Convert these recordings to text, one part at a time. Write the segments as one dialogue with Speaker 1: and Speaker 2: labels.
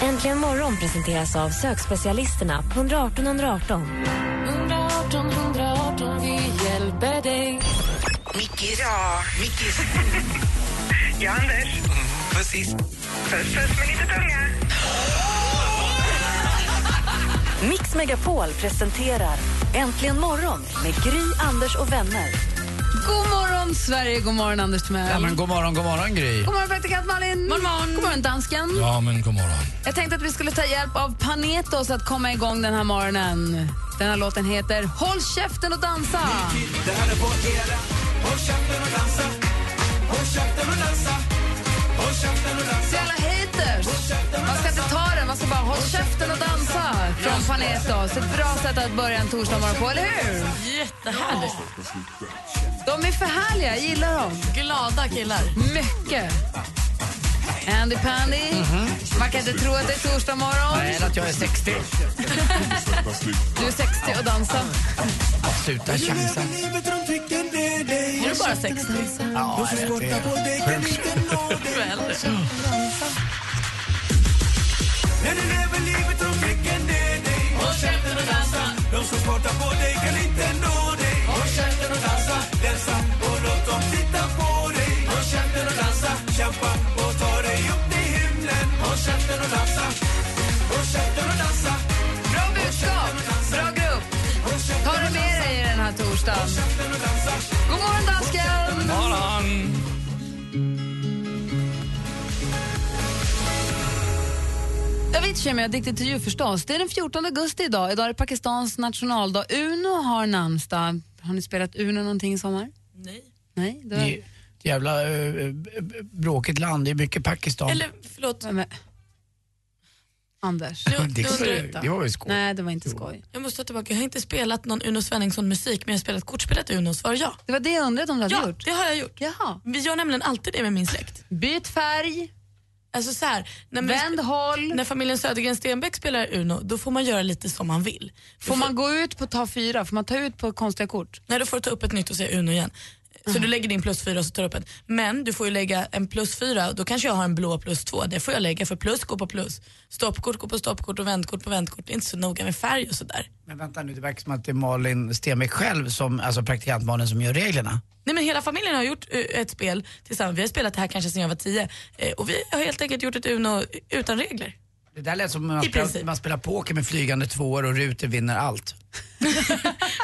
Speaker 1: Äntligen morgon presenteras av sökspecialisterna på 118 118.
Speaker 2: Micke då, Micke. Ja, Anders.
Speaker 3: Mm,
Speaker 2: precis. Puss, puss med lite tunga.
Speaker 1: Mix Megapol presenterar Äntligen morgon med Gry, Anders och vänner.
Speaker 4: God morgon, Sverige. God morgon, Anders Timell.
Speaker 5: Ja, men god morgon, god morgon Gry.
Speaker 4: God morgon, praktikant Malin. God morgon. God morgon, dansken.
Speaker 5: Ja, men god morgon.
Speaker 4: Jag tänkte att vi skulle ta hjälp av Panetos att komma igång den här morgonen. Den här låten heter Håll käften och dansa. Så jävla haters! Man ska inte ta den, man ska bara håll käften och dansa från Panetos. Ett bra sätt att börja en torsdag morgon på, eller hur?
Speaker 6: Jättehärligt.
Speaker 4: De är för härliga, jag gillar dem.
Speaker 6: Glada killar.
Speaker 4: Mycket. Andy Pandy. Man kan inte tro att det är torsdag morgon.
Speaker 5: Nej, att jag är 60.
Speaker 4: Du är 60 och dansar.
Speaker 5: Sluta chansa.
Speaker 6: Är du bara 60?
Speaker 5: Ja, jag vet.
Speaker 6: Du är äldre.
Speaker 4: Bra budskap, bra grupp. Ta det med dig i den här torsdagen. God morgon, dansken! Avicii med Addicted to you förstås. Det är den 14 augusti idag. Idag är det Pakistans nationaldag. Uno har namnsdag. Har ni spelat Uno någonting i sommar?
Speaker 6: Nej.
Speaker 4: Nej? Det
Speaker 5: Det
Speaker 4: var...
Speaker 5: är ett jävla eh, b- bråkigt land. Det är mycket Pakistan.
Speaker 6: Eller förlåt,
Speaker 4: Men- Anders.
Speaker 6: nu,
Speaker 5: det,
Speaker 6: nu undrar jag
Speaker 5: det
Speaker 6: utan.
Speaker 5: var ju skoj.
Speaker 4: Nej, det var inte skoj.
Speaker 6: Jag måste ta tillbaka, jag har inte spelat någon Uno Svenningsson-musik men jag har spelat kortspelet Uno, svarar jag.
Speaker 4: Det var det jag undrade om du hade
Speaker 6: Ja,
Speaker 4: gjort.
Speaker 6: det har jag gjort.
Speaker 4: Jaha.
Speaker 6: Vi gör nämligen alltid det med min släkt.
Speaker 4: Byt färg,
Speaker 6: Alltså så här, när, man-
Speaker 4: vänd håll.
Speaker 6: när familjen Södergren Stenbeck spelar Uno, då får man göra lite som man vill.
Speaker 4: Får man gå ut på ta fyra? Får man ta ut på konstiga kort?
Speaker 6: Nej, då får du ta upp ett nytt och säga Uno igen. Så du lägger din plus fyra och så tar du upp ett. Men du får ju lägga en plus fyra, då kanske jag har en blå plus två. Det får jag lägga för plus går på plus. Stoppkort går på stoppkort och vändkort på vändkort. Det är inte så noga med färg och sådär.
Speaker 5: Men vänta nu, det verkar som att det är Malin Stenbeck själv, som, alltså praktikantmannen, som gör reglerna.
Speaker 6: Nej men hela familjen har gjort eh, ett spel tillsammans. Vi har spelat det här kanske sedan jag var tio. Eh, Och vi har helt enkelt gjort ett Uno utan regler.
Speaker 5: Det där lät som när man
Speaker 6: I
Speaker 5: spelar,
Speaker 6: princip.
Speaker 5: man spelar poker med flygande tvåor och Ruter vinner allt.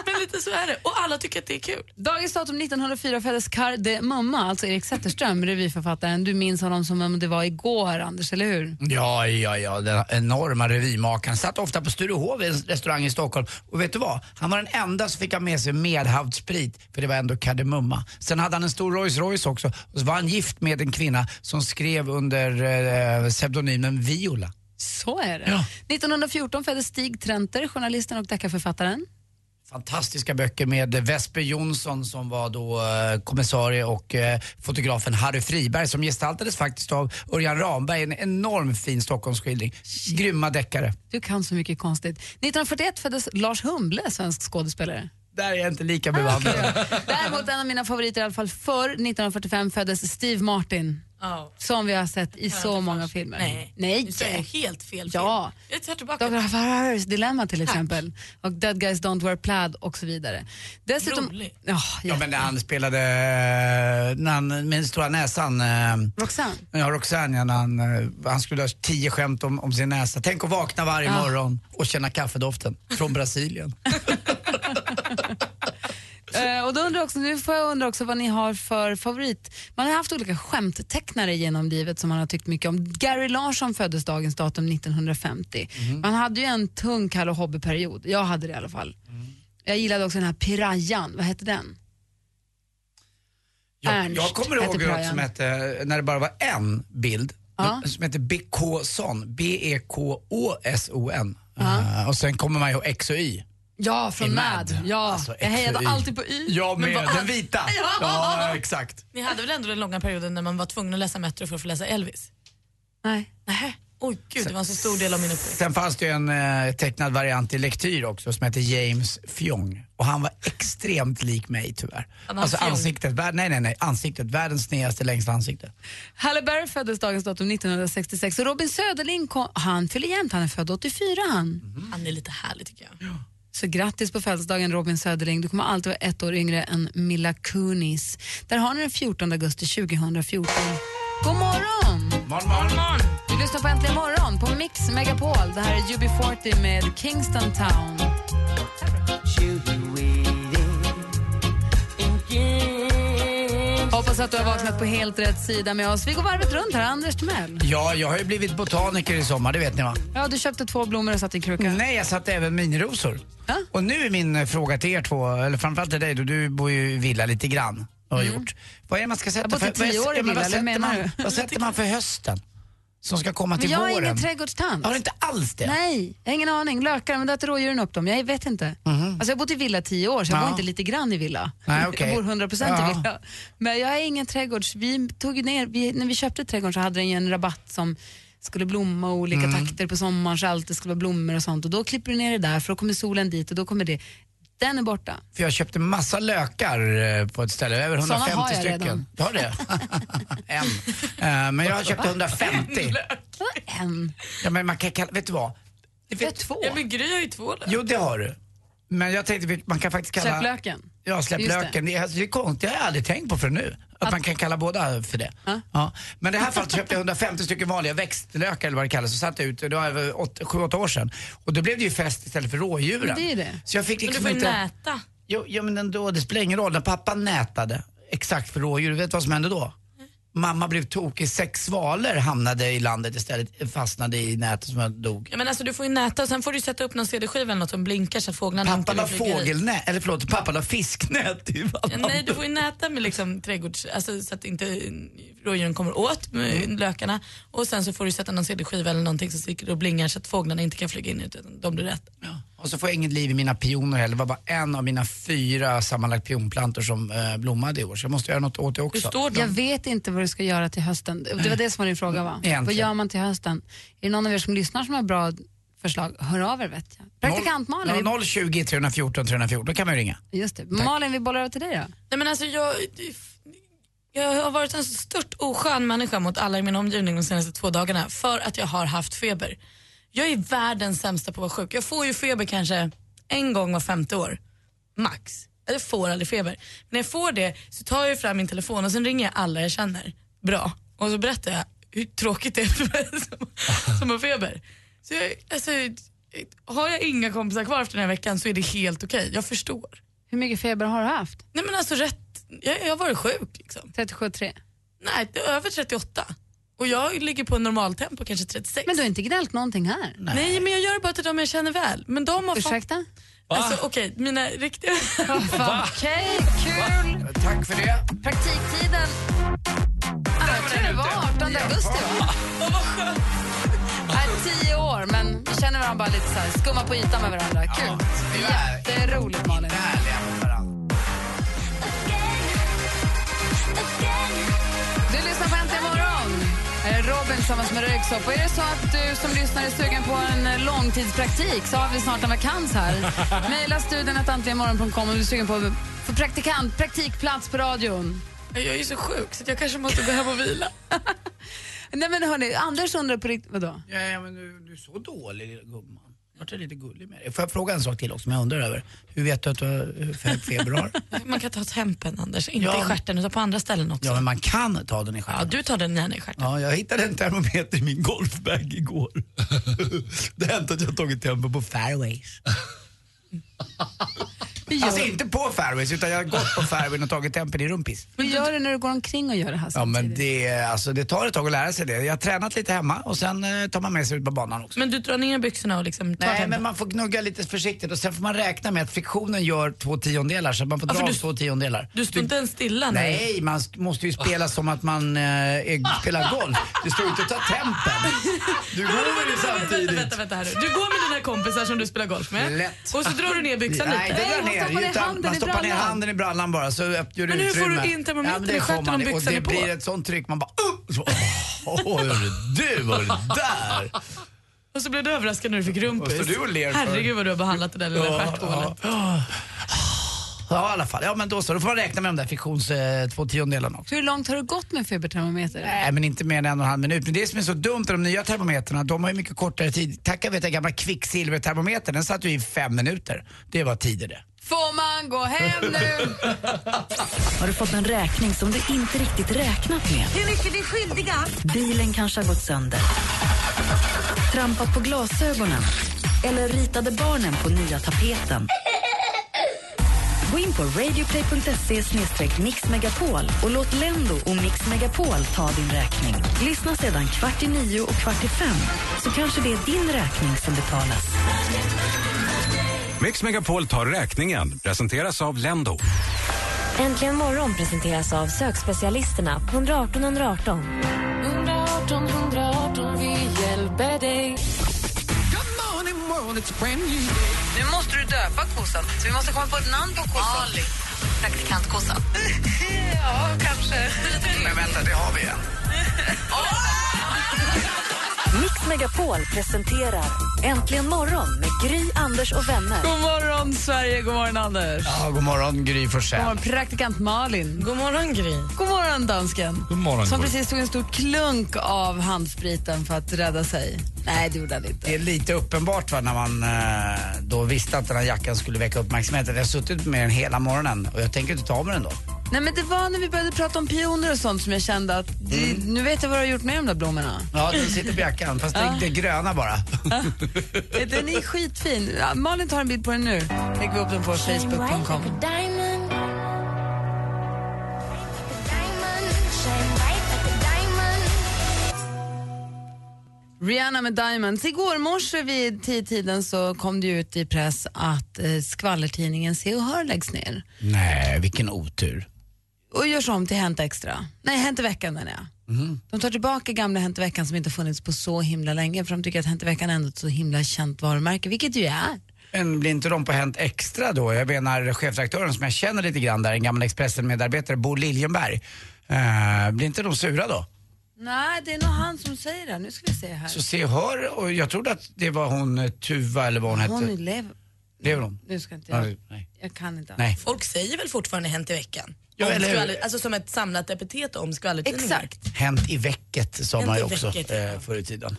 Speaker 6: Men lite så är det. Och alla tycker att det är kul.
Speaker 4: Dagens datum 1904 föddes Kar de Mumma, alltså Erik Zetterström, revyförfattaren. Du minns honom som om det var igår, Anders, eller hur?
Speaker 5: Ja, ja, ja, den enorma revymakaren. Satt ofta på Sturehov i en restaurang i Stockholm. Och vet du vad? Han var den enda som fick ha med sig medhavd sprit, för det var ändå kardemumma. Sen hade han en stor Rolls Royce också. Och så var han gift med en kvinna som skrev under eh, pseudonymen Viola.
Speaker 4: Så är det.
Speaker 5: Ja.
Speaker 4: 1914 föddes Stig Trenter, journalisten och deckarförfattaren.
Speaker 5: Fantastiska böcker med Vesper Jonsson som var då eh, kommissarie och eh, fotografen Harry Friberg som gestaltades faktiskt av Örjan Ramberg. En enorm fin Stockholmsskildring. Grymma deckare.
Speaker 4: Du kan så mycket konstigt. 1941 föddes Lars Humble, svensk skådespelare.
Speaker 5: Där är jag inte lika bevandrad.
Speaker 4: Däremot en av mina favoriter, i alla fall förr, 1945 föddes Steve Martin.
Speaker 6: Ja.
Speaker 4: Som vi har sett i så många filmer.
Speaker 6: Nej. Nu säger jag
Speaker 4: Nej.
Speaker 6: helt fel.
Speaker 4: Ja.
Speaker 6: Fel. Jag tar tillbaka.
Speaker 4: Dr. Farahars Dilemma till exempel. Och Dead Guys Don't Wear Plaid och så vidare. Dessutom...
Speaker 6: Rolig.
Speaker 4: Ja,
Speaker 5: Ja, men när
Speaker 4: Mm.
Speaker 5: han spelade, eh, när han, med den stora näsan, eh,
Speaker 4: Roxanne.
Speaker 5: ja, Roxanne, ja, när han, eh, han skulle ha tio skämt om, om sin näsa. Tänk att vakna varje morgon och känna kaffedoften från Brasilien.
Speaker 4: Eh, och då undrar jag också, nu får jag undra också vad ni har för favorit. Man har haft olika skämttecknare genom livet som man har tyckt mycket om. Gary Larsson föddes dagens datum 1950. Man hade ju en tung Kalle och Hobbe-period. Jag hade det i alla fall. Jag gillade också den här Pirayan, vad hette den?
Speaker 5: Jag,
Speaker 4: Ernst
Speaker 5: jag kommer
Speaker 4: hette
Speaker 5: ihåg något
Speaker 4: prajan.
Speaker 5: som hette, eh, när det bara var en bild,
Speaker 4: Ja.
Speaker 5: som hette E Bekåson, B-E-K-Å-S-O-N. Eh, och sen kommer man ihåg X och Y.
Speaker 4: Ja, från
Speaker 5: I
Speaker 4: Mad. Ja.
Speaker 5: Alltså,
Speaker 4: jag hejade
Speaker 5: XY.
Speaker 4: alltid på Y.
Speaker 5: Jag
Speaker 4: men
Speaker 5: med,
Speaker 4: bara-
Speaker 5: den vita.
Speaker 4: Ja.
Speaker 5: ja exakt.
Speaker 6: Ni hade väl ändå den långa perioden när man var tvungen att läsa Metro för att få läsa Elvis?
Speaker 4: Nej.
Speaker 6: Nähä. Oj gud, det var en så stor del av min uppväxt.
Speaker 5: Sen fanns det ju en eh, tecknad variant i lektyr också som hette James Fjong. Och han var extremt lik mig tyvärr.
Speaker 6: Han har
Speaker 5: alltså
Speaker 6: fjong.
Speaker 5: ansiktet, vär- nej nej nej, ansiktet, världens snedaste längsta ansikte.
Speaker 4: Halle Berry föddes dagens datum 1966 och Robin Söderling kom, han fyller jämnt, han är född 84 han.
Speaker 6: Han är lite härlig tycker jag.
Speaker 4: Så grattis på födelsedagen Robin Söderling, du kommer alltid vara ett år yngre än Mila Kunis. Där har ni den 14 augusti 2014. God morgon!
Speaker 5: Morgon, morgon, morgon.
Speaker 4: Du lyssnar på Äntligen morgon på Mix Megapol. Det här är UB40 med Kingston Town. Hoppas att du har vaknat på helt rätt sida med oss. Vi går varvet runt här. Anders Timell.
Speaker 5: Ja, jag har ju blivit botaniker i sommar, det vet ni va?
Speaker 4: Ja, du köpte två blommor och satte i en kruka.
Speaker 5: Nej, jag satte även minirosor.
Speaker 4: Ja.
Speaker 5: Och nu är min eh, fråga till er två, eller framförallt till dig då, du bor ju i villa lite grann och har gjort. Vad är det man ska sätta
Speaker 4: Mm. har bott i
Speaker 5: för- vad är-
Speaker 4: tio år i
Speaker 5: ja, men
Speaker 4: villa,
Speaker 5: vad
Speaker 4: eller
Speaker 5: sätter
Speaker 4: menar
Speaker 5: man-
Speaker 4: du?
Speaker 5: Vad sätter man för hösten? Som ska komma
Speaker 4: Men
Speaker 5: till
Speaker 4: jag är
Speaker 5: våren?
Speaker 4: ingen trädgårdstant.
Speaker 5: Har du inte alls det?
Speaker 4: Nej, jag har ingen aning. Lökar, men där äter rådjuren upp dem. Jag vet inte. Alltså jag har bott i villa tio år, så jag
Speaker 5: Mhm. Ja.
Speaker 4: bor inte lite grann i villa.
Speaker 5: Nej, okej.
Speaker 4: Jag bor 100 procent i
Speaker 5: Ja.
Speaker 4: villa. Men jag är ingen trädgårds... Vi tog ju ner, vi, när vi köpte trädgården så hade den ju en rabatt som skulle blomma och olika
Speaker 5: Mm.
Speaker 4: takter på sommaren så allt det skulle vara blommor och sånt. Och då klipper du ner det där för då kommer solen dit och då kommer det. Den är borta.
Speaker 5: För jag köpte massa lökar eh, på ett ställe, över
Speaker 4: Såna
Speaker 5: 150
Speaker 4: har jag
Speaker 5: stycken.
Speaker 4: redan.
Speaker 5: Du har det? en. Eh, men jag köpte 150.
Speaker 4: Vadå en?
Speaker 5: Ja, men man kan kalla, vet du vad? Det
Speaker 4: Det är
Speaker 5: vet-
Speaker 4: två.
Speaker 6: Ja, men Gry har ju två lökar.
Speaker 5: Jo, det har du. Men jag tänkte, vi- man kan faktiskt kalla...
Speaker 4: Släpp löken.
Speaker 5: Ja, släpp
Speaker 4: Just det.
Speaker 5: löken. Det är, alltså, det är konstigt, det har jag aldrig tänkt på förrän nu. Att, man kan kalla båda för det. Ja. Men i det här fallet köpte jag 150 stycken vanliga växtlökar eller vad det kallas och satte ut, det var över åt- sju, åtta år sedan. Och då blev det ju fest istället för rådjuren.
Speaker 4: Men det är ju det.
Speaker 5: Så jag fick
Speaker 6: Men du
Speaker 5: liksom
Speaker 6: får ju
Speaker 5: inte...
Speaker 6: näta.
Speaker 5: Jo, ja, men ändå, det spelar ingen roll. När pappa nätade exakt för rådjur, vet du vad som hände då? Mamma blev tokig, sex svalor hamnade i landet istället, fastnade i nätet som dog.
Speaker 6: Ja, men alltså, du får ju näta och sen får du sätta upp någon CD-skiva eller något som blinkar så att fåglarna
Speaker 5: Pappa la
Speaker 6: vill flyga dit.
Speaker 5: fågelnät, eller förlåt, pappa la fisknät i
Speaker 6: Ja,
Speaker 5: vallan.
Speaker 6: Nej, du får ju näta med liksom trädgårds... Alltså, så att inte rådjuren kommer åt med lökarna. Och sen så får du sätta någon CD-skiva eller någonting som sticker och blingar så att fåglarna inte kan flyga in ut utan de blir rätt.
Speaker 5: Och så får jag inget liv i mina pioner heller. Det var bara en av mina fyra sammanlagt pionplantor som eh, blommade i år. Så jag måste göra något åt det
Speaker 6: Hur
Speaker 5: också.
Speaker 6: står de?
Speaker 4: Jag vet inte vad du ska göra till hösten. Det var det som var din fråga va?
Speaker 5: Egentligen.
Speaker 4: Vad gör man till hösten? Är det någon av er som lyssnar som har bra förslag? Hör av er vet jag. Praktikant Malin.
Speaker 5: Ja, 020 314 314, då kan man ju ringa.
Speaker 4: Just det. Malin, vi bollar över till dig då.
Speaker 6: Nej, men alltså, jag, jag har varit en så stört oskön människa mot alla i min omgivning de senaste två dagarna för att jag har haft feber. Jag är världens sämsta på att vara sjuk. Jag får ju feber kanske en gång var femte år, max. Jag får aldrig feber. När jag får det så tar jag ju fram min telefon och sen ringer jag alla jag känner. Bra. Och så berättar jag hur tråkigt det är för mig som, som har feber. Så jag, alltså, har jag inga kompisar kvar efter den här veckan så är det helt okej. Jag förstår.
Speaker 4: Hur mycket feber har du haft?
Speaker 6: Nej men alltså rätt, jag, jag har varit sjuk liksom.
Speaker 4: 37,3.
Speaker 6: Nej, det är över 38. Och jag ligger på en normaltempo, kanske 36.
Speaker 4: Men du har inte gnällt någonting här?
Speaker 6: Nej. men jag gör det bara till de jag känner väl. Men de har fan...
Speaker 4: Ursäkta?
Speaker 6: Alltså okej, mina riktiga...
Speaker 4: Fan, Okej, kul!
Speaker 5: Tack för det.
Speaker 4: Praktiktiden... Ah, jag tror det var 18 augusti va? Nej, tio år, men vi känner varandra bara lite så här, skumma på ytan med varandra. Kul. Jätteroligt Malin. Du lyssnar på Äntligen morgon. Här är Robin tillsammans med Röyksopp. Och är det så att du som lyssnar är sugen på en eh, långtidspraktik så har vi snart en vakans här. Mejla studion att antligenmorgon.com om du är sugen på för praktikant, praktikplats på radion.
Speaker 6: jag är ju så sjuk så att jag kanske måste gå hem och vila.
Speaker 4: Nej men hörni, Anders undrar på riktigt, vadå?
Speaker 5: Ja, ja, men du, du är så dålig lilla gumman. Vart är lite gullig med dig. Får jag fråga en sak till också som jag undrar över? Hur vet du att du har hur hög feber har?
Speaker 6: Man kan ta tempen Anders, inte
Speaker 5: Ja.
Speaker 6: i stjärten utan på andra ställen också.
Speaker 5: ja,
Speaker 6: Ja,
Speaker 5: men man kan ta den i skärmen.
Speaker 6: du tar den gärna i stjärten.
Speaker 5: Ja, jag hittade en termometer i min golfbag igår. Det har hänt att jag har tagit tempen på fairways.
Speaker 4: gör-
Speaker 5: Alltså inte på Fairways utan jag har gått på Fairways och tagit tempen i rumpis.
Speaker 4: Hur gör du när du går omkring och gör det här
Speaker 5: Ja
Speaker 4: samtidigt?
Speaker 5: men det, alltså, det tar ett tag att lära sig det. Jag har tränat lite hemma och sen eh, tar man med sig ut på banan också.
Speaker 6: Men du drar ner byxorna och liksom tar
Speaker 5: Nej
Speaker 6: tempen.
Speaker 5: men man får gnugga lite försiktigt och sen får man räkna med att friktionen gör två tiondelar så man får
Speaker 6: Ja,
Speaker 5: dra
Speaker 6: för
Speaker 5: av
Speaker 6: du-
Speaker 5: två tiondelar.
Speaker 6: Du står inte ens stilla när-
Speaker 5: Nej, man sk- måste ju spela som att man eh, är, spelar golf. Du står ju inte och tar tempen. Du går väl
Speaker 6: Vänta,
Speaker 5: samtidigt?
Speaker 6: vänta, vänta här nu. Du går med dina kompisar som du spelar golf med
Speaker 5: Lätt.
Speaker 6: och så drar du ner byxan
Speaker 5: Nej,
Speaker 6: lite.
Speaker 5: det där
Speaker 4: man
Speaker 5: ner.
Speaker 4: stoppar ner
Speaker 5: utan
Speaker 4: handen
Speaker 5: man
Speaker 4: i
Speaker 5: stoppar ner
Speaker 4: brallan.
Speaker 5: handen i brallan bara så öppnar du
Speaker 6: Men hur får du
Speaker 5: utrymme.
Speaker 6: in termometern
Speaker 5: Ja, men
Speaker 6: i
Speaker 5: det får
Speaker 6: stjärten
Speaker 5: man.
Speaker 6: om
Speaker 5: Och
Speaker 6: byxan
Speaker 5: det
Speaker 6: är på?
Speaker 5: blir ett sånt tryck, man bara... Uh, så, åh, åh, hörru du, vad det där?
Speaker 6: Och så blev du överraskad när du fick
Speaker 5: Och så
Speaker 6: rumpis.
Speaker 5: du och ler för-
Speaker 6: Herregud vad du har behandlat det där lilla stjärthålet.
Speaker 5: ja. ja, i alla fall. Ja, men då så. Då får man räkna med de där friktions... Eh, två tiondelarna också.
Speaker 4: Hur långt har du gått med febertermometer?
Speaker 5: Nej, men inte mer än en och en halv minut. Men det som är så dumt med de nya termometrarna, de har ju mycket kortare tid. Tacka vet jag gamla kvicksilvertermometern, den satt ju i fem minuter. Det var tider det.
Speaker 4: Får man gå hem nu?
Speaker 1: Har du fått en räkning som du inte riktigt räknat med?
Speaker 7: Hur mycket vi är skyldiga?
Speaker 1: Bilen kanske har gått sönder. Trampat på glasögonen. Eller ritade barnen på nya tapeten. Gå in på radioplay.se mixmegapol och låt Lendo och Mix Megapol ta din räkning. Lyssna sedan kvart i nio och kvart i fem så kanske det är din räkning som betalas.
Speaker 3: Mix Megapol tar räkningen. Presenteras av Lendo.
Speaker 7: Äntligen morgon presenteras av sökspecialisterna på 118 118.
Speaker 4: Nu måste du döpa kossan, så vi måste komma på ett namn på kossan. Ali. Praktikantkossan. ja, kanske.
Speaker 5: Men vänta, det har vi igen.
Speaker 1: Mix Megapol presenterar Äntligen morgon med Gry, Anders och vänner.
Speaker 4: God morgon, Sverige. God morgon, Anders.
Speaker 5: Ja, god morgon Gry
Speaker 4: God
Speaker 5: Forssell.
Speaker 4: morgon, praktikant Malin.
Speaker 6: God morgon Gry.
Speaker 4: God morgon, dansken.
Speaker 8: God morgon,
Speaker 4: Som
Speaker 8: god morgon.
Speaker 4: precis tog en stor klunk av handspriten för att rädda sig. Nej, det gjorde han inte.
Speaker 5: Det är lite uppenbart va, när man eh, då visste att den här jackan skulle väcka uppmärksamheten. Jag har suttit med den hela morgonen och jag tänker inte ta av mig den då.
Speaker 4: Nej, men det var när vi började prata om pioner och sånt som jag kände att det,
Speaker 8: Mm.
Speaker 4: nu vet jag vad du har gjort med de där blommorna.
Speaker 5: Ja, den sitter på jackan, fast det, det är gröna bara.
Speaker 4: Den är skitfin. Ja, Malin tar en bild på den nu. Lägger vi upp den på Facebook.com. Rihanna med Diamonds. Igår morse vid tiden så kom det ju ut i press att eh, skvallertidningen Se och Hör läggs ner
Speaker 5: Nej, vilken otur.
Speaker 4: och görs om till Hänt Extra. Nej, Hänt i veckan menar jag.
Speaker 5: Mhm.
Speaker 4: De tar tillbaka gamla Hänt i veckan som inte funnits på så himla länge för de tycker att Hänt i veckan är ändå ett så himla känt varumärke, vilket ju är.
Speaker 5: Men blir inte de på Hänt Extra då? Jag menar chefredaktören som jag känner lite grann där, en gammal Expressen-medarbetare, Bo Liljenberg. Eh, blir inte de sura då?
Speaker 4: Nej, det är nog han som säger det. Nu ska vi se här.
Speaker 5: Så se och hör, och jag trodde att det var hon eh, Tuva eller vad hon hette.
Speaker 4: Hon lever...
Speaker 5: Lever hon?
Speaker 4: Nu ska inte
Speaker 5: eh, Nej.
Speaker 4: jag... Jag kan inte.
Speaker 5: Nej.
Speaker 6: Folk säger väl fortfarande Hänt i veckan?
Speaker 5: Ja,
Speaker 6: Om
Speaker 5: eller hur?
Speaker 6: skvaller- alltså som ett samlat epitet om skvallertidningar.
Speaker 4: Exakt.
Speaker 5: Hänt i väcket sa
Speaker 6: Hänt
Speaker 5: man ju
Speaker 6: i
Speaker 5: också
Speaker 6: väcket, ja.
Speaker 5: eh, förr i tiden.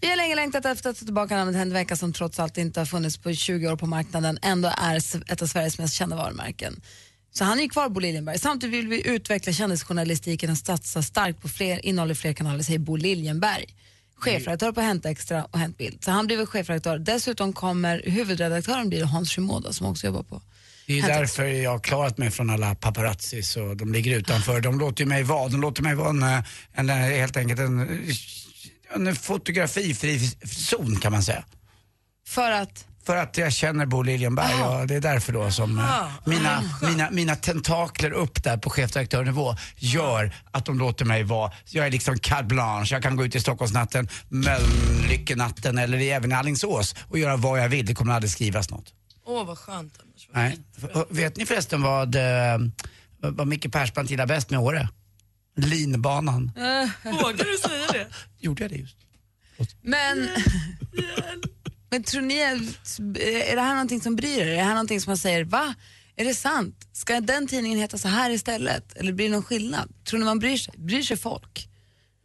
Speaker 4: Vi har länge längtat efter att ta tillbaka namnet Hänt i veckan som trots allt inte har funnits på 20 år på marknaden, ändå är s- ett av Sveriges mest kända varumärken. Så han är ju kvar, Bo Liljenberg. Samtidigt vill vi utveckla kändisjournalistiken och satsa starkt på fler innehåll i fler kanaler, säger Bo Liljenberg. Chefredaktör på Hänt Extra och Hänt Bild. Så han blir väl chefredaktör. Dessutom kommer huvudredaktören blir Hans Shimoda som också jobbar på
Speaker 5: Det är ju
Speaker 4: Hänt
Speaker 5: därför jag har klarat mig från alla paparazzis och de ligger utanför. De låter ju mig vara. De låter mig vara en, eh, en, eh, helt enkelt en, eh, en fotografifri zon kan man säga.
Speaker 4: För att
Speaker 5: För att jag känner Bo Liljenberg och det är därför då som eh, mina, mina, mina tentakler upp där på chefredaktörnivå gör att de låter mig vara. Jag är liksom carte blanche, jag kan gå ut i Stockholmsnatten, Mölnlyckenatten eller i- även i Alingsås och göra vad jag vill. Det kommer aldrig skrivas något.
Speaker 6: Åh vad skönt Anders.
Speaker 5: Nej. Och Vet ni förresten vad, eh, vad Micke Persbrandt gillar bäst med Åre? Linbanan.
Speaker 6: Vågar du säga det?
Speaker 5: Gjorde jag det just?
Speaker 4: Men, men tror ni, eh, är det här någonting som bryr er? Är det här någonting som man säger, va? Är det sant? Ska den tidningen heta så här istället? Eller blir det någon skillnad? Tror ni man bryr sig? Bryr sig folk?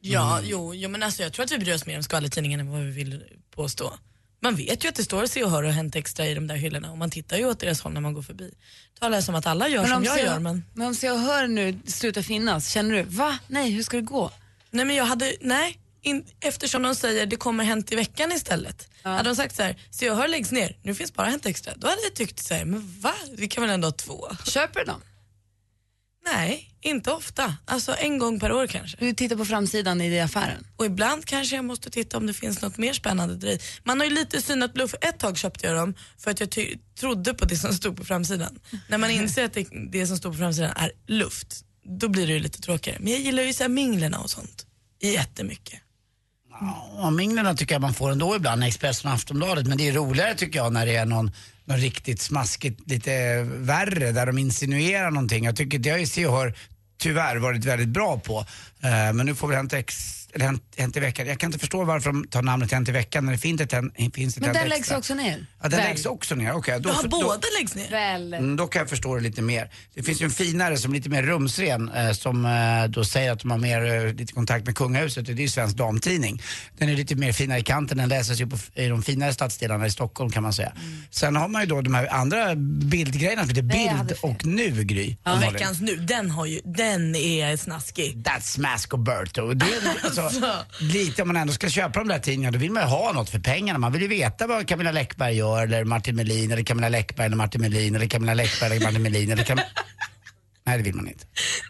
Speaker 6: Ja, jo, jo, men alltså jag tror att vi bryr oss mer om skvallertidningen än vad vi vill påstå. Man vet ju att det står Se och Hör och Hänt Extra i de där hyllorna och man tittar ju åt deras håll när man går förbi. Talar som att alla gör som jag
Speaker 4: Se-
Speaker 6: gör men...
Speaker 4: men om Se och Hör nu slutar finnas, känner du, va? Nej, hur ska det gå?
Speaker 6: Nej men jag hade, nej, in, eftersom de säger det kommer Hänt i veckan istället. Hade de sagt så här, så jag hör läggs ner, nu finns bara Hänt Extra, då hade jag tyckt så här, men va? Vi kan väl ändå ha två?
Speaker 4: Köper du dem?
Speaker 6: Nej, inte ofta. Alltså en gång per år kanske.
Speaker 4: Du tittar på framsidan i affären?
Speaker 6: Och ibland kanske jag måste titta om det finns något mer spännande där i. Man har ju lite synat bluff. Ett tag köpte jag dem för att jag ty- trodde på det som stod på framsidan. När man inser att det, det som står på framsidan är luft, då blir det ju lite tråkigare. Men jag gillar ju så här minglerna och sånt jättemycket.
Speaker 5: Ja, minglerna tycker jag man får ändå ibland, Expressen och Aftonbladet. Men det är roligare tycker jag när det är någon, någon riktigt smaskigt, lite värre, där de insinuerar någonting. Jag tycker det har ju Se och Hör tyvärr varit väldigt bra på. Eh, men nu får vi Hänt, ex, eller hänt, hänt i veckan. Jag kan inte förstå varför de tar namnet Hänt i veckan när det finns ett, Hänt- finns ett
Speaker 4: Men
Speaker 5: Hänt
Speaker 4: den läggs
Speaker 5: extra.
Speaker 4: också ner?
Speaker 5: Ja, den
Speaker 4: Väl.
Speaker 5: läggs också ner. Okej, då,
Speaker 6: Ja,
Speaker 5: för- då,
Speaker 6: båda läggs ner.
Speaker 4: Väl.
Speaker 5: Mm, då kan jag förstå det lite mer. Det finns ju en finare som är lite mer rumsren eh, som eh, då säger att de har mer eh, lite kontakt med kungahuset och det är ju Svensk Damtidning. Den är lite mer finare i kanten, den läses ju på, f- i de finare stadsdelarna i Stockholm kan man säga. Sen har man ju då de här andra bildgrejerna som heter Bild och Nu Gry.
Speaker 6: Ja.
Speaker 5: Malin.
Speaker 6: Veckans nu, den, har ju, den är snaskig.
Speaker 5: That's Mascoberto. Det är, alltså,
Speaker 6: Alltså.
Speaker 5: lite om man ändå ska köpa de där tidningarna då vill man ju ha något för pengarna. Man vill ju veta vad Camilla Läckberg gör eller Martin Melin eller Camilla Läckberg eller Martin Melin eller Camilla Läckberg eller Martin Melin eller Cam... Nej det vill man inte.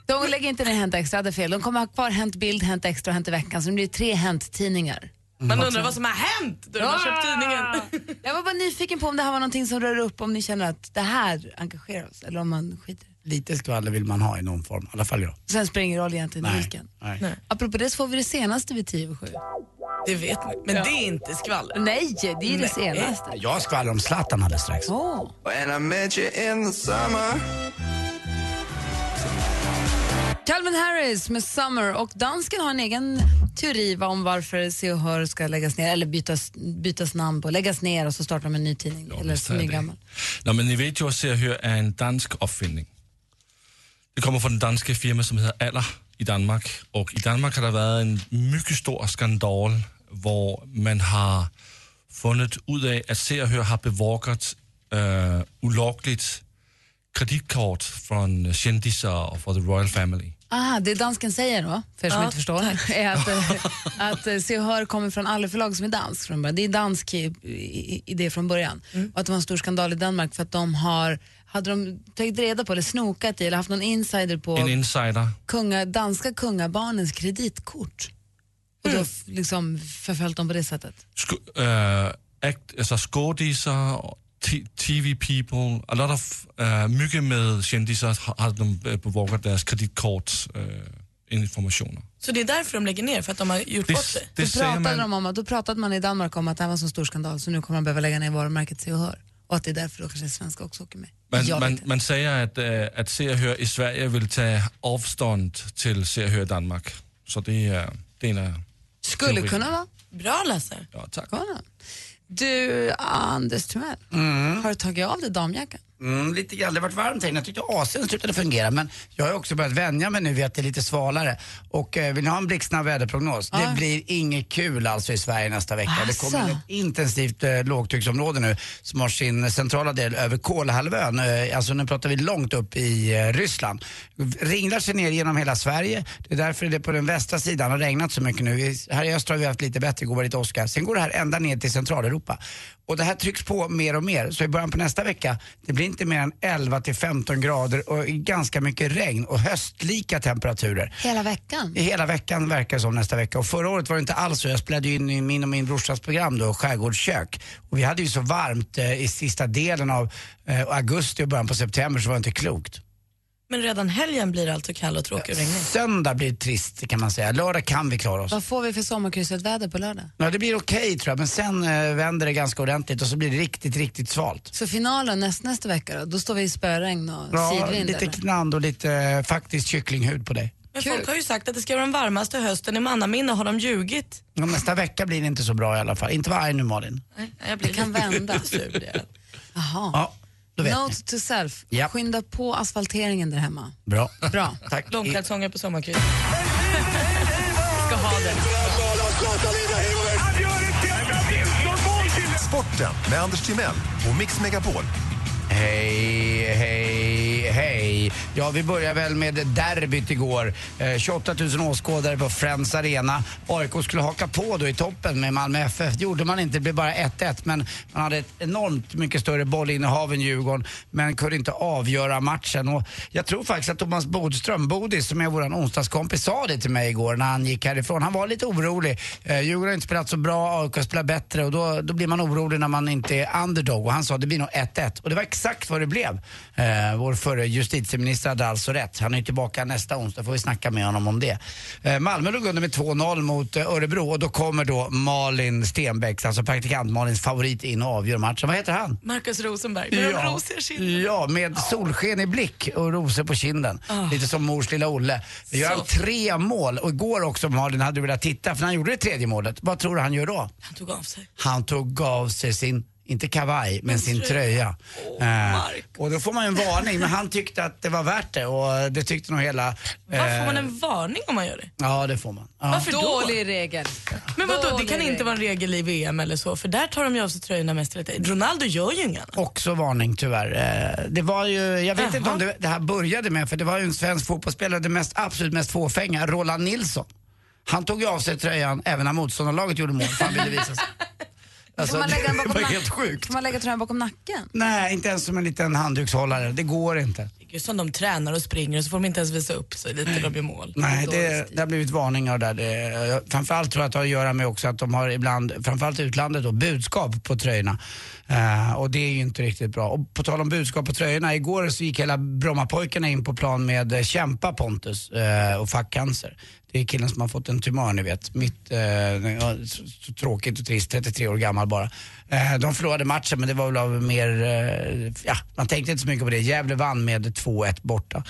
Speaker 4: De lägger inte ner Hänt Extra, hade fel. De kommer ha kvar Hänt Bild, Hänt Extra och Hänt i veckan, så det blir tre Hänt-tidningar.
Speaker 6: Man undrar vad som har hänt då man köpt tidningen.
Speaker 4: Ah! Jag var bara nyfiken på om det här var någonting som rör upp, om ni känner att det här engagerar oss, eller om man skiter i det.
Speaker 5: Lite skvaller vill man ha i någon form, i alla fall jag.
Speaker 4: Sen spelar det ingen roll egentligen
Speaker 5: Nej.
Speaker 4: vilken.
Speaker 5: Nej.
Speaker 4: Apropå det så får vi det senaste vid 10 och 7.
Speaker 6: Det vet man, men det är inte skvaller.
Speaker 4: Nej, det är det senaste.
Speaker 5: Jag skvallrar om Zlatan alldeles strax.
Speaker 4: Åh. Calvin Harris med Summer och dansken har en egen teori va, om varför Se och Hör ska läggas ner eller bytas, bytas namn på, läggas ner och så startar de en ny tidning eller
Speaker 8: visst är
Speaker 4: en ny
Speaker 8: det.
Speaker 4: gammal.
Speaker 8: Nå, men ni vet ju att Se och Hør är en dansk uppfinning. Det kommer från den danska firma som heter Aller i Danmark. Och i Danmark har det varit en mycket stor skandal där man har funnit ut av att Se och Hør har bevakat äh, olagligt kreditkort från kändisar och från the royal family.
Speaker 4: Aha, det dansken säger då, för er som
Speaker 6: Ja,
Speaker 4: inte förstår, är att, eh, att eh, Se och Hör kommer från Alle förlag som är dansk från början. Det är dansk i- i- idé från början. Och att det var en stor skandal i Danmark för att de har, hade de tagit reda på eller snokat i eller haft någon insider på
Speaker 8: En insider.
Speaker 4: kunga, danska kungabarnens kreditkort. Och då f- liksom förföljt dem på det sättet.
Speaker 8: sku- øh, act, altså skådisar, og ti- TV people, a lot of, øh, mycket med kändisar har, har de øh, bevakat deras kreditkort øh, informationer.
Speaker 6: Så det är därför de lägger ner, för att de har gjort bort sig.
Speaker 8: det
Speaker 4: Då pratade, de om, att- då pratade man i Danmark om att det här var en så stor skandal så nu kommer man behöva lägga ner varumärket Se och Hör. Och att det är därför då kanske svenska också åker med.
Speaker 8: man,
Speaker 4: Jag vet
Speaker 8: man,
Speaker 4: inte.
Speaker 8: man säger att, øh, att Se och Hör i Sverige vill ta eh, avstånd till Se och Hör Danmark. Så det är, eh, det är en af-
Speaker 4: Skulle kunna vara.
Speaker 6: Bra Lasse.
Speaker 8: Ja, tack.
Speaker 4: Kolla. Du, Anders Timell, har du tagit av dig damjackan?
Speaker 5: Mm, lite grann. Det har varit varmt här inne. Jag tyckte AC'n slutade fungera men jag har ju också börjat vänja mig nu vid att det är lite svalare. Och eh, vill ni ha en blixtsnabb väderprognos? Det blir inget kul alltså i Sverige nästa vecka. Det kommer
Speaker 4: Asså.
Speaker 5: ett intensivt eh, lågtrycksområde nu som har sin centrala del över Kolahalvön. Eh, alltså nu pratar vi långt upp i eh, Ryssland. Ringlar sig ner genom hela Sverige. Det är därför det på den västra sidan har regnat så mycket nu. Vi, här i östra har vi haft lite bättre, går lite åska. Sen går det här ända ner till Centraleuropa. Och det här trycks på mer och mer. Så i början på nästa vecka, det blir inte mer än 11 till 15 grader och ganska mycket regn och höstlika temperaturer.
Speaker 4: Hela veckan?
Speaker 5: I hela veckan verkar det som nästa vecka. Och förra året var det inte alls så. Jag spelade ju in i min och min brorsas program då, Skärgårdskök. Och vi hade ju så varmt eh, i sista delen av eh, augusti och början på september så var det inte klokt.
Speaker 6: Men redan helgen blir det alltså kall och tråkig och regnig.
Speaker 5: Söndag blir trist kan man säga. Lördag kan vi klara oss.
Speaker 4: Vad får vi för sommarkrysset väder på lördag?
Speaker 5: Ja, det blir okej tror jag, men sen eh, vänder det ganska ordentligt och så blir det riktigt, riktigt svalt.
Speaker 4: Så finalen näst, nästa vecka då, då står vi i spöregn och
Speaker 5: Ja,
Speaker 4: sidvind?
Speaker 5: lite
Speaker 4: eller?
Speaker 5: knand och lite eh, faktiskt kycklinghud på dig.
Speaker 6: Men
Speaker 4: Kul.
Speaker 6: folk har ju sagt att det ska vara den varmaste hösten i mannaminne. Har de ljugit?
Speaker 5: Ja, nästa vecka blir det inte så bra i alla fall. Inte var arg nu Malin.
Speaker 6: Nej, jag blir
Speaker 4: Det kan
Speaker 6: lite
Speaker 4: vända.
Speaker 6: sur, blir jag.
Speaker 4: Jaha.
Speaker 5: Ja, då vet
Speaker 4: Note to self,
Speaker 5: Ja.
Speaker 4: skynda på asfalteringen där hemma.
Speaker 5: ni. Bra.
Speaker 4: Bra.
Speaker 5: Tack.
Speaker 6: Långkalsonger på sommarkryss.
Speaker 9: Sporten med Anders Timell och Mix Megapol.
Speaker 5: Hej, hej, hej, hej. Ja, vi börjar väl med derbyt igår. Eh, 28 000 åskådare på Friends Arena. AIK skulle haka på då i toppen med Malmö FF. Det gjorde man inte, det blev bara 1-1. Men man hade ett enormt mycket större bollinnehav än Djurgården, men kunde inte avgöra matchen. Och jag tror faktiskt att Thomas Bodström, Bodis, som är vår onsdagskompis, sa det till mig igår när han gick härifrån. Han var lite orolig. Eh, Djurgården har inte spelat så bra, AIK spelar bättre och då, då blir man orolig när man inte är underdog. Och han sa det blir nog 1-1 och det var exakt vad det blev. Eh, vår förre justitieminister hade alltså rätt. Han är ju tillbaka nästa onsdag, får vi snacka med honom om det. Eh, Malmö låg under med 2-0 mot eh, Örebro och då kommer då Malin Stenbäck, alltså praktikant Malins favorit in och avgör matchen. Vad heter han?
Speaker 6: Marcus Rosenberg, med de rosiga kinderna.
Speaker 5: ja, med solsken i blick och rosor på kinden.
Speaker 6: Ah.
Speaker 5: Lite som mors lilla Olle. Vi gör
Speaker 6: Så.
Speaker 5: tre mål och igår också Malin hade du velat titta för när han gjorde det tredje målet, vad tror du han gör då?
Speaker 6: Han tog av sig.
Speaker 5: Han tog av sig sin, inte kavaj, men sin tröja. Eh, och då får man ju en varning, men han tyckte att det var värt det och det tyckte nog hela... eh,
Speaker 6: Varför får man en varning om man gör det?
Speaker 5: Ja, det får man. Ja.
Speaker 6: Varför då?
Speaker 4: Dålig regel.
Speaker 6: Men vadå, det
Speaker 4: Dålig
Speaker 6: kan inte
Speaker 4: regel.
Speaker 6: vara en regel i VM eller så, för där tar de ju av sig tröjorna mest hela tiden. Ronaldo gör ju inga.
Speaker 5: Också varning tyvärr. Eh, Det var ju, jag vet inte om det, det här började med, för det var ju en svensk fotbollsspelare, det mest, absolut mest fåfänga, Roland Nilsson. Han tog ju av sig tröjan även när motståndarlaget gjorde mål, för han ville visa sig. Alltså,
Speaker 4: får man lägga den
Speaker 5: det
Speaker 4: bakom
Speaker 5: var
Speaker 4: nacken?
Speaker 5: helt sjukt.
Speaker 4: Får man lägga tröjan bakom nacken?
Speaker 5: Nej, inte ens som en liten handdukshållare. Det går inte.
Speaker 6: Gud, som de tränar och springer och så får de inte ens visa upp sig lite när de gör mål.
Speaker 5: Nej,
Speaker 6: Dålig
Speaker 5: det, det har blivit varningar där. Det, framförallt tror jag att det har att göra med också att de har ibland, framförallt i utlandet då, budskap på tröjorna. Eh, och det är ju inte riktigt bra. Och på tal om budskap på tröjorna, igår så gick hela Brommapojkarna in på plan med eh, Kämpa Pontus eh, och fackcancer. Det är killen som har fått en tumör ni vet. Mitt, eh, ja, så, så tråkigt och trist, 33 år gammal bara. Eh, de förlorade matchen men det var väl av mer, eh, ja man tänkte inte så mycket på det. Gävle vann med 2-1 borta.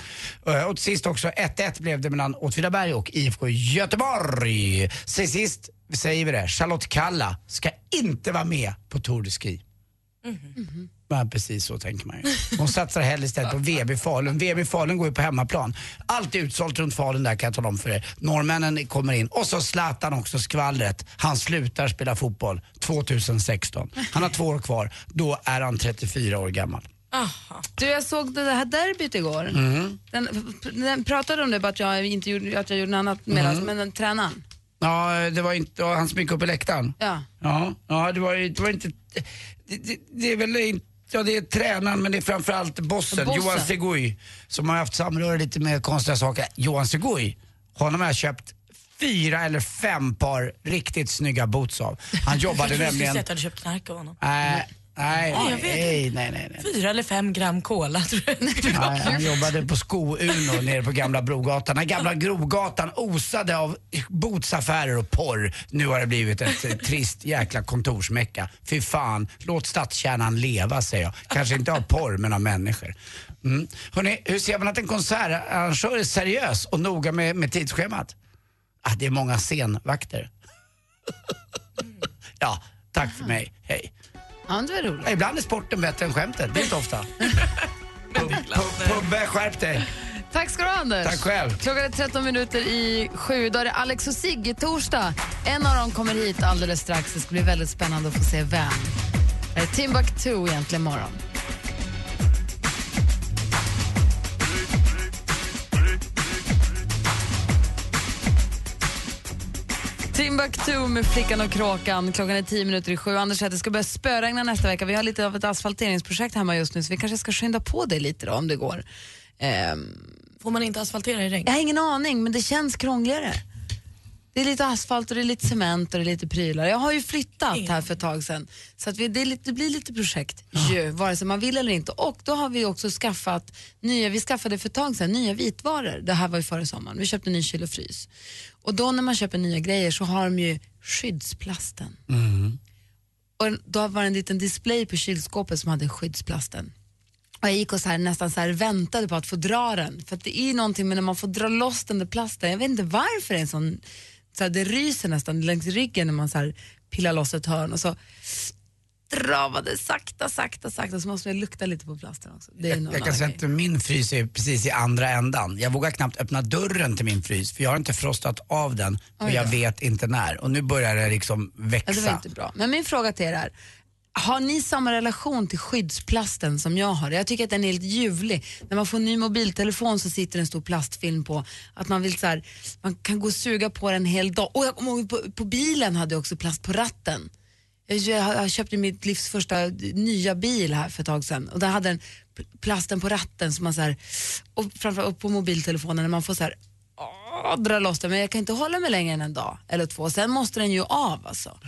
Speaker 5: Eh, och till sist också 1-1 blev det mellan Åtvidaberg och IFK Göteborg. Till sist säger vi det, Charlotte Kalla ska inte vara med på Tour de Ski. Ja, precis så tänker man ju. Hon satsar hellre istället på VB Falun. VB Falun går ju på hemmaplan. Allt är utsålt runt Falun där kan jag tala om för er. Norrmännen kommer in. Och så Zlatan också, skvallret. Han slutar spela fotboll 2016. Han har två år kvar. Då är han 34 år gammal.
Speaker 4: Du, jag såg det här derbyt igår.
Speaker 5: Mm.
Speaker 4: Den, den pratade om det, bara att jag inte gjorde, att jag gjorde något annat medan,
Speaker 5: Mm.
Speaker 4: men den tränaren.
Speaker 5: Ja, det var inte... ja, Han smyckade upp i läktaren.
Speaker 4: Ja.
Speaker 5: Ja, ja det, var, ju- det var inte... Det, det, det är väl inte... Ja, det är tränaren men det är framförallt bossen,
Speaker 9: Bossen.
Speaker 5: Johan Segui, som har haft samröre lite med konstiga saker. Johan Segui, honom har jag köpt fyra eller fem par riktigt snygga boots av. Han jobbade
Speaker 6: Jag trodde du skulle
Speaker 5: nämligen...
Speaker 6: säga att du hade köpt knark av honom.
Speaker 5: Nej, nej,
Speaker 6: Ja, jag
Speaker 5: nej, nej,
Speaker 6: vet
Speaker 5: nej, nej.
Speaker 6: Fyra eller fem gram cola tror jag.
Speaker 5: Nej, han jobbade på Sko-Uno nere på Gamla Brogatan. Den gamla Brogatan osade av bootsaffärer och porr. Nu har det blivit ett eh, trist jäkla kontorsmecka. Fy fan, låt stadskärnan leva säger jag. Kanske inte av porr men av människor. Mm. Hörrni, hur ser man att en konsertarrangör är seriös och noga med, med tidsschemat? Ah, det är många scenvakter. ja, tack för mig. Hej.
Speaker 4: Ja, det var roligt.
Speaker 5: Ja, Ibland är sporten bättre än skämtet. Det är inte ofta. Pub- Pubbe, skärp dig.
Speaker 4: Tack ska du ha, Anders.
Speaker 5: Tack själv.
Speaker 4: Klockan är 13 minuter i sju. Då är det Alex och Sigge torsdag. En av dem kommer hit alldeles strax. Det ska bli väldigt spännande att få se vem. Det är Timbuktu egentligen morgon. Timbuktu med Flickan och kråkan. Klockan är tio minuter i sju. Anders säger att det ska börja spöregna nästa vecka. Vi har lite av ett asfalteringsprojekt hemma just nu så vi kanske ska skynda på det lite då, om det går.
Speaker 6: Får man inte asfaltera i regn?
Speaker 4: Jag har ingen aning, men det känns krångligare. Det är lite asfalt och det är lite cement och det är lite prylar. Jag har ju flyttat här för ett tag sedan så att vi, det, är lite, det blir lite projekt ju, vare sig man vill eller inte. Och då har vi också skaffat nya, vi skaffade för ett tag sedan nya vitvaror. Det här var ju före sommaren. Vi köpte ny kyl och frys. Och då när man köper nya grejer så har de ju skyddsplasten. Och då var det en liten display på kylskåpet som hade skyddsplasten. Och jag gick och så här, nästan så här väntade på att få dra den. För att det är ju någonting med när man får dra loss den där plasten. Jag vet inte varför det är en sån, så här, det ryser nästan längs ryggen när man så här pillar loss ett hörn och så travade sakta, sakta, sakta så måste jag lukta lite på plasten också. Det är
Speaker 5: Jag,
Speaker 4: någon
Speaker 5: jag kan
Speaker 4: annan
Speaker 5: säga
Speaker 4: grej.
Speaker 5: att min frys är precis i andra ändan. Jag vågar knappt öppna dörren till min frys för jag har inte frostat av den och
Speaker 4: Oj då.
Speaker 5: jag vet inte när. Och nu börjar det liksom växa.
Speaker 4: Ja, det var inte bra. Men min fråga till er är, Har ni samma relation till skyddsplasten som jag har? Jag tycker att den är helt ljuvlig. När man får en ny mobiltelefon så sitter en stor plastfilm på. Att man vill så här, man kan gå och suga på den en hel dag. Och jag kommer ihåg på, på bilen hade jag också plast på ratten. Jag, jag, har- jag köpte mitt livs första nya bil här för ett tag sedan och där hade den pl- plasten på ratten som man så här, och framförallt på mobiltelefonen när man får så här åh, Ah, dra loss den men jag kan inte hålla mig längre än en dag eller två. Sen måste den ju av alltså.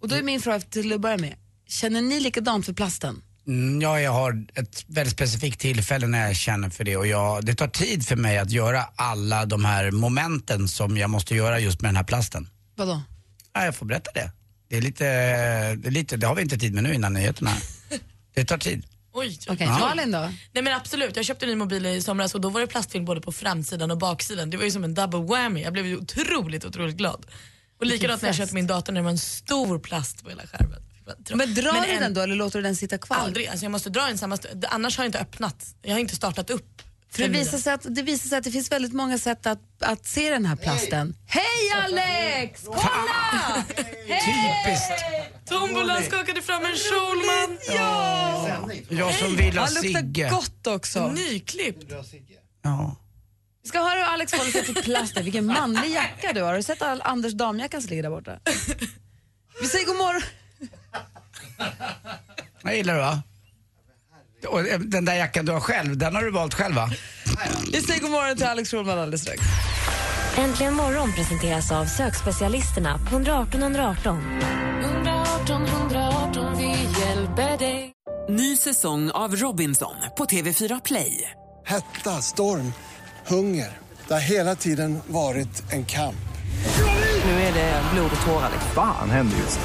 Speaker 4: Och då är min fråga till att börja med, känner ni likadant för plasten?
Speaker 5: Mm, Ja, jag har ett väldigt specifikt tillfälle när jag känner för det och jag, det tar tid för mig att göra alla de här momenten som jag måste göra just med den här plasten.
Speaker 4: Vadå?
Speaker 5: Ja, jag får berätta det. Det är lite, det, är lite, det har vi inte tid med nu innan nyheterna. Det tar tid.
Speaker 6: Oj.
Speaker 5: Okej, Ja. Malin
Speaker 4: då?
Speaker 6: Nej men absolut, jag köpte en ny mobil i somras och då var det plastfilm både på framsidan och baksidan. Det var ju som en double whammy. Jag blev ju otroligt, otroligt glad. Och likadant när jag
Speaker 4: fest.
Speaker 6: köpte min dator när det var en stor plast på hela skärmen.
Speaker 4: Men drar
Speaker 6: Men
Speaker 4: du
Speaker 6: en-
Speaker 4: den då eller låter du den sitta kvar?
Speaker 6: Aldrig, alltså jag måste dra den samma st- annars har jag inte öppnat. Jag har inte startat upp.
Speaker 4: För det visar, sig att, det visar sig att det finns väldigt många sätt att, att se den här plasten. Hej Alex! Kolla!
Speaker 5: Typiskt.
Speaker 6: Tombolan skakade fram en Schulman.
Speaker 5: Ja! Jag som vill ha
Speaker 4: Han luktar
Speaker 5: Sigge.
Speaker 4: gott också.
Speaker 6: Nyklippt.
Speaker 5: Ja.
Speaker 4: Vi ska höra hur Alex håller sig till plasten. Vilken manlig jacka du har. Har du sett all Anders damjackan som ligger där borta? Vi säger god morgon.
Speaker 5: Jag gillar det va? Och eh, den där jackan du har själv, den har du valt själv va?
Speaker 4: Vi säger god morgon till Alex Schulman alldeles strax.
Speaker 7: Äntligen morgon presenteras av sökspecialisterna på 118 118.
Speaker 9: 118 118, vi hjälper dig.
Speaker 10: Ny säsong av Robinson på TV4 Play.
Speaker 11: Hetta, storm, hunger. Det har hela tiden varit en kamp.
Speaker 10: Nu är det blod och tårar.
Speaker 12: Fan händer just det.